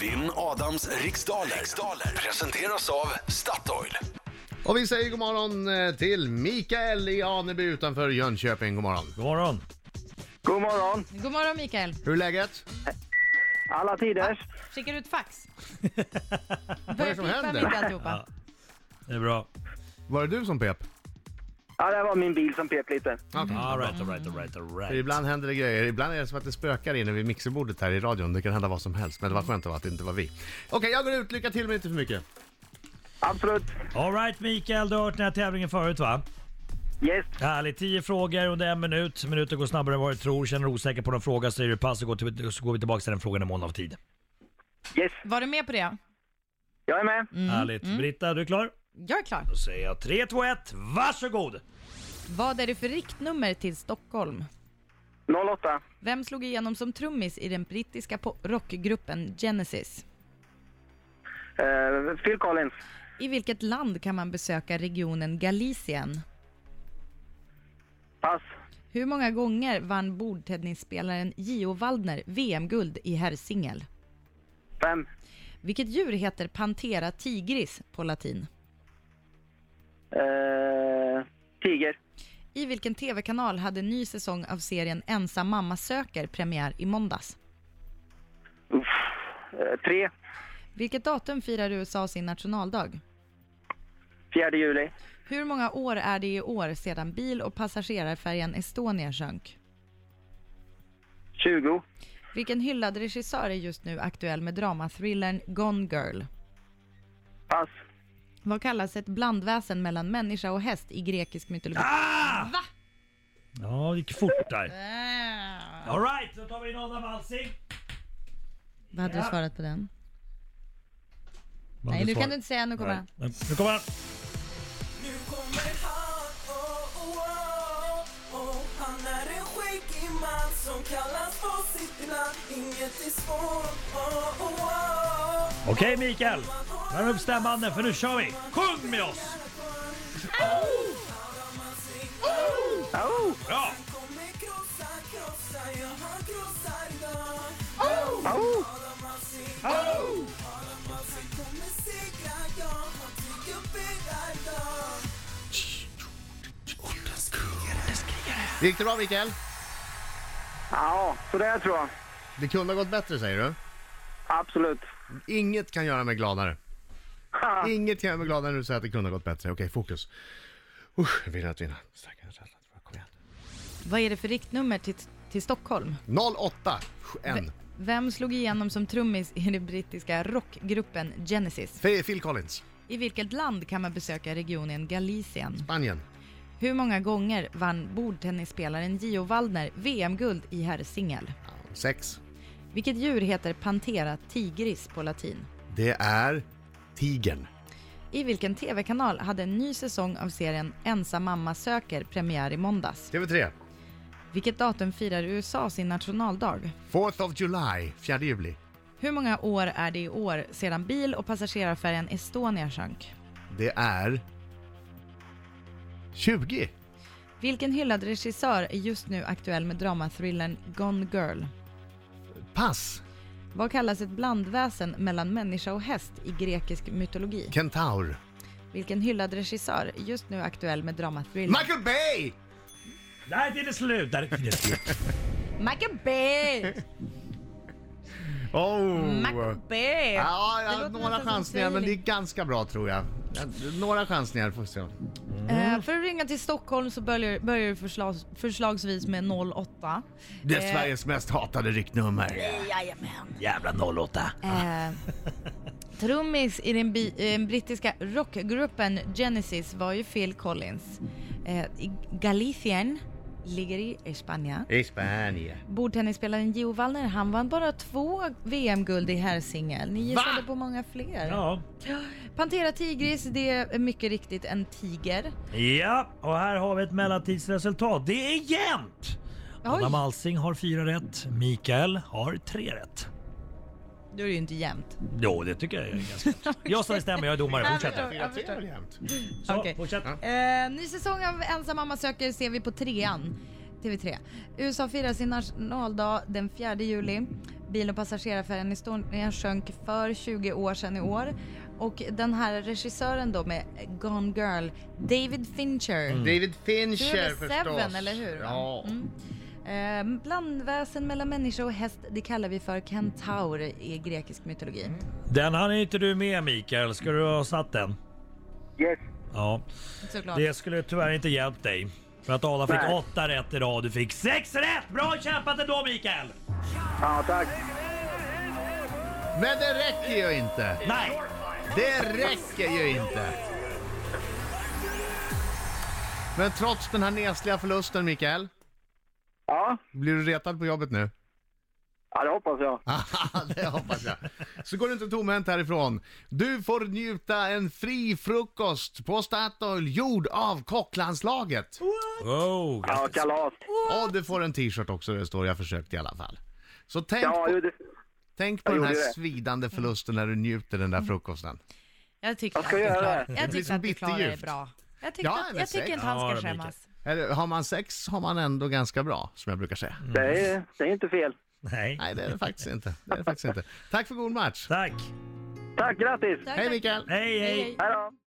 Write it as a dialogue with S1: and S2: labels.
S1: Vinn Adams riksdaler. riksdaler presenteras av Statoil.
S2: Och vi säger god morgon eh, till Mikael i Aneby utanför Jönköping. God morgon.
S3: God morgon.
S4: God morgon,
S5: God morgon Mikael.
S2: Hur är läget?
S4: alla tiders.
S5: Skickar du ett fax?
S2: är
S5: Börjar
S2: det som
S5: pipa
S2: händer?
S5: mitt i alltihopa.
S3: Ja. Det är bra.
S2: Var det du som pep?
S4: Ja, det var min bil som pep lite.
S3: All right, all right, all right, all
S2: För
S3: right.
S2: Ibland händer det grejer. Ibland är det som att det spökar inne vid mixerbordet här i radion. Det kan hända vad som helst. Men det var skönt att det inte var vi. Okej, jag går ut. Lycka till men inte för mycket.
S4: Absolut.
S3: All right Mikael, du har hört den här tävlingen förut va?
S4: Yes.
S3: Härligt, 10 frågor under en minut. Minuter går snabbare än vad du tror. Känner du osäker på någon fråga så är det pass och går, till, så går vi tillbaka till den frågan i mån av tid.
S4: Yes.
S5: Var du med på det?
S4: Jag är med.
S3: Härligt. Britta, du är klar?
S5: Jag är klar.
S3: Då säger jag 3, 2, 1, varsågod!
S5: Vad är det för riktnummer till Stockholm?
S4: 08.
S5: Vem slog igenom som trummis i den brittiska po- rockgruppen Genesis?
S4: Eh, Phil Collins.
S5: I vilket land kan man besöka regionen Galicien?
S4: Pass.
S5: Hur många gånger vann bordtennisspelaren Gio Waldner VM-guld i herrsingel?
S4: 5.
S5: Vilket djur heter Pantera tigris på latin?
S4: Eh, tiger.
S5: I vilken TV-kanal hade ny säsong av serien Ensam mamma söker premiär i måndags?
S4: Uff. Eh, 3.
S5: Vilket datum firar USA sin nationaldag?
S4: 4 juli.
S5: Hur många år är det i år sedan bil och passagerarfärjan Estonia sjönk?
S4: 20.
S5: Vilken hyllad regissör är just nu aktuell med dramathrillern Gone Girl?
S4: Pass.
S5: Vad kallas ett blandväsen mellan människa och häst i grekisk mytologi?
S3: Ah!
S5: Va? Eh.
S3: Ja, det gick fort där. All right, då tar vi in Adam Alsing.
S5: Vad hade du svarat på den? Nej, nu kan du inte säga, nu kommer han.
S3: Nej, Nu kommer han.
S6: Nu kommer han, oh, oh, oh, oh. Han är en skäggig man som kallas på sitt namn Inget är svårt, oh, oh, oh.
S3: Okej Mikael, värm upp stämbanden för nu kör vi. Sjung med oss!
S4: Oh!
S3: Bra!
S6: Kommer krossa, krossa, ja han krossar idag
S4: Oh!
S6: Adam Alsing,
S3: Hallå!
S6: Adam Alsing kommer segra, ja han tycker bättre idag
S2: Gick det bra Mikael?
S4: Ja, sådär tror jag.
S2: Det kunde ha gått bättre säger du?
S4: Absolut.
S2: Inget kan göra mig gladare.
S4: Ha.
S2: Inget kan göra mig gladare när du säger att det kunde ha gått bättre. Okej, fokus. Usch, jag vill att vinna. Säkert, säkert, kom igen.
S5: Vad är det för riktnummer till, till Stockholm?
S2: 08. En.
S5: Vem slog igenom som trummis i den brittiska rockgruppen Genesis?
S2: Fe- Phil Collins.
S5: I vilket land kan man besöka regionen Galicien?
S2: Spanien.
S5: Hur många gånger vann bordtennisspelaren Gio Waldner VM-guld i herrsingel?
S2: Ja, Sex.
S5: Vilket djur heter Pantera tigris på latin?
S2: Det är tigern.
S5: I vilken TV-kanal hade en ny säsong av serien Ensam mamma söker premiär i måndags?
S2: TV3.
S5: Vilket datum firar USA sin nationaldag?
S2: 4th of July, 4 juli.
S5: Hur många år är det i år sedan bil och passagerarfärjan Estonia sjönk?
S2: Det är 20.
S5: Vilken hyllad regissör är just nu aktuell med dramathrillern Gone Girl?
S2: Pass.
S5: Vad kallas ett blandväsen mellan människa och häst i grekisk mytologi?
S2: Kentaur.
S5: Vilken hyllad regissör är just nu aktuell med dramathrillern?
S2: Michael Bay!
S3: Där är tiden slut! Där är tiden slut.
S5: Michael Bay!
S2: Oh.
S5: Michael Bay!
S2: Ja,
S5: Det
S2: ja
S5: låter
S2: några
S5: nästan som
S2: chansningar, men det är
S5: Sailing.
S2: ganska bra tror jag. Ja, Några chansningar, får vi se. Mm.
S5: Eh, för att ringa till Stockholm så börjar, börjar du förslags, förslagsvis med 08.
S2: Det är Sveriges mest hatade riktnummer.
S3: Jävla 08.
S5: Eh, trummis i den, bi, eh, den brittiska rockgruppen Genesis var ju Phil Collins. Eh, i Galicien ligger i Spanien.
S2: I Spanien.
S5: Bordtennisspelaren Gio Wallner, han vann bara två VM-guld i herrsingel. Ni gissade på många fler.
S3: Ja.
S5: Pantera tigris, det är mycket riktigt en tiger.
S3: ja, och här har vi ett mellantidsresultat. Det är jämnt! Adam
S5: Oj,
S3: Alsing har fyra rätt, Mikael har tre rätt.
S5: då är det ju inte jämnt.
S3: Jo, det tycker jag är ganska rätt. Jag står i stämmer, jag är domare. Fortsätt.
S5: Ja, jag förstår.
S2: Mm.
S3: Så,
S5: Okej.
S3: fortsätt.
S5: Eh, ny säsong av Ensam mamma söker ser vi på trean, TV3. USA firar sin nationaldag den 4 juli. Bil och passagerarfärjan Estonia sjönk för 20 år sedan i år. Och den här regissören då med Gone Girl, David Fincher.
S2: David
S5: Du är
S2: Fincher
S5: väl
S2: förstås.
S5: Seven, eller hur? va?
S2: Ja.
S5: Mm. Eh, blandväsen mellan människa och häst, det kallar vi för kentaur i grekisk mytologi.
S2: Mm.
S3: Den hann inte du med Mikael. Ska du ha satt den?
S4: Yes.
S3: Ja.
S5: Såklart.
S3: Det skulle tyvärr inte hjälpt dig. För att Adam fick
S4: Nej.
S3: åtta rätt idag och du fick sex rätt! Bra kämpat ändå Mikael!
S4: Ja, tack.
S2: Men det räcker ju inte.
S3: Nej!
S2: Det räcker ju inte. Men trots den här nesliga förlusten, Mikael,
S4: Ja,
S2: blir du retad på jobbet nu?
S4: ja det hoppas jag.
S2: Ah. det hoppas jag. Så går du inte tomhänt härifrån. Du får njuta en fri frukost på Statoil, gjord av kocklandslaget.
S3: Oh,
S4: Ja, kalas.
S2: Och du får en t-shirt också, det står jag försökt i alla fall. Så tänk
S4: Ja,
S2: på,
S4: jo, det,
S2: tänk på
S4: jag
S2: den här
S4: gjorde det. Mm.
S2: svidande förlusten när du njuter den där frukosten.
S5: Jag tyckte
S4: Jag ska
S5: att du
S4: göra
S5: klar-
S4: det.
S5: Jag
S2: blir
S5: tyckte
S2: som
S5: att du klarade det
S2: bitterljuvt.
S5: bra. Jag tyckte,
S2: Ja,
S5: att,
S2: men
S5: jag tycker
S2: säg-
S5: inte han
S3: Ja,
S5: ska
S3: då,
S5: skämmas.
S2: Eller, har man sex har man ändå ganska bra, som jag brukar säga.
S4: det, är, det är inte fel.
S3: nej.
S2: Nej, det är det faktiskt inte. Det är det faktiskt inte. Tack för god match.
S3: Tack!
S4: Tack, grattis!
S5: Tack,
S2: Hej
S5: tack.
S2: Mikael!
S3: Hej hej!
S4: Hej då!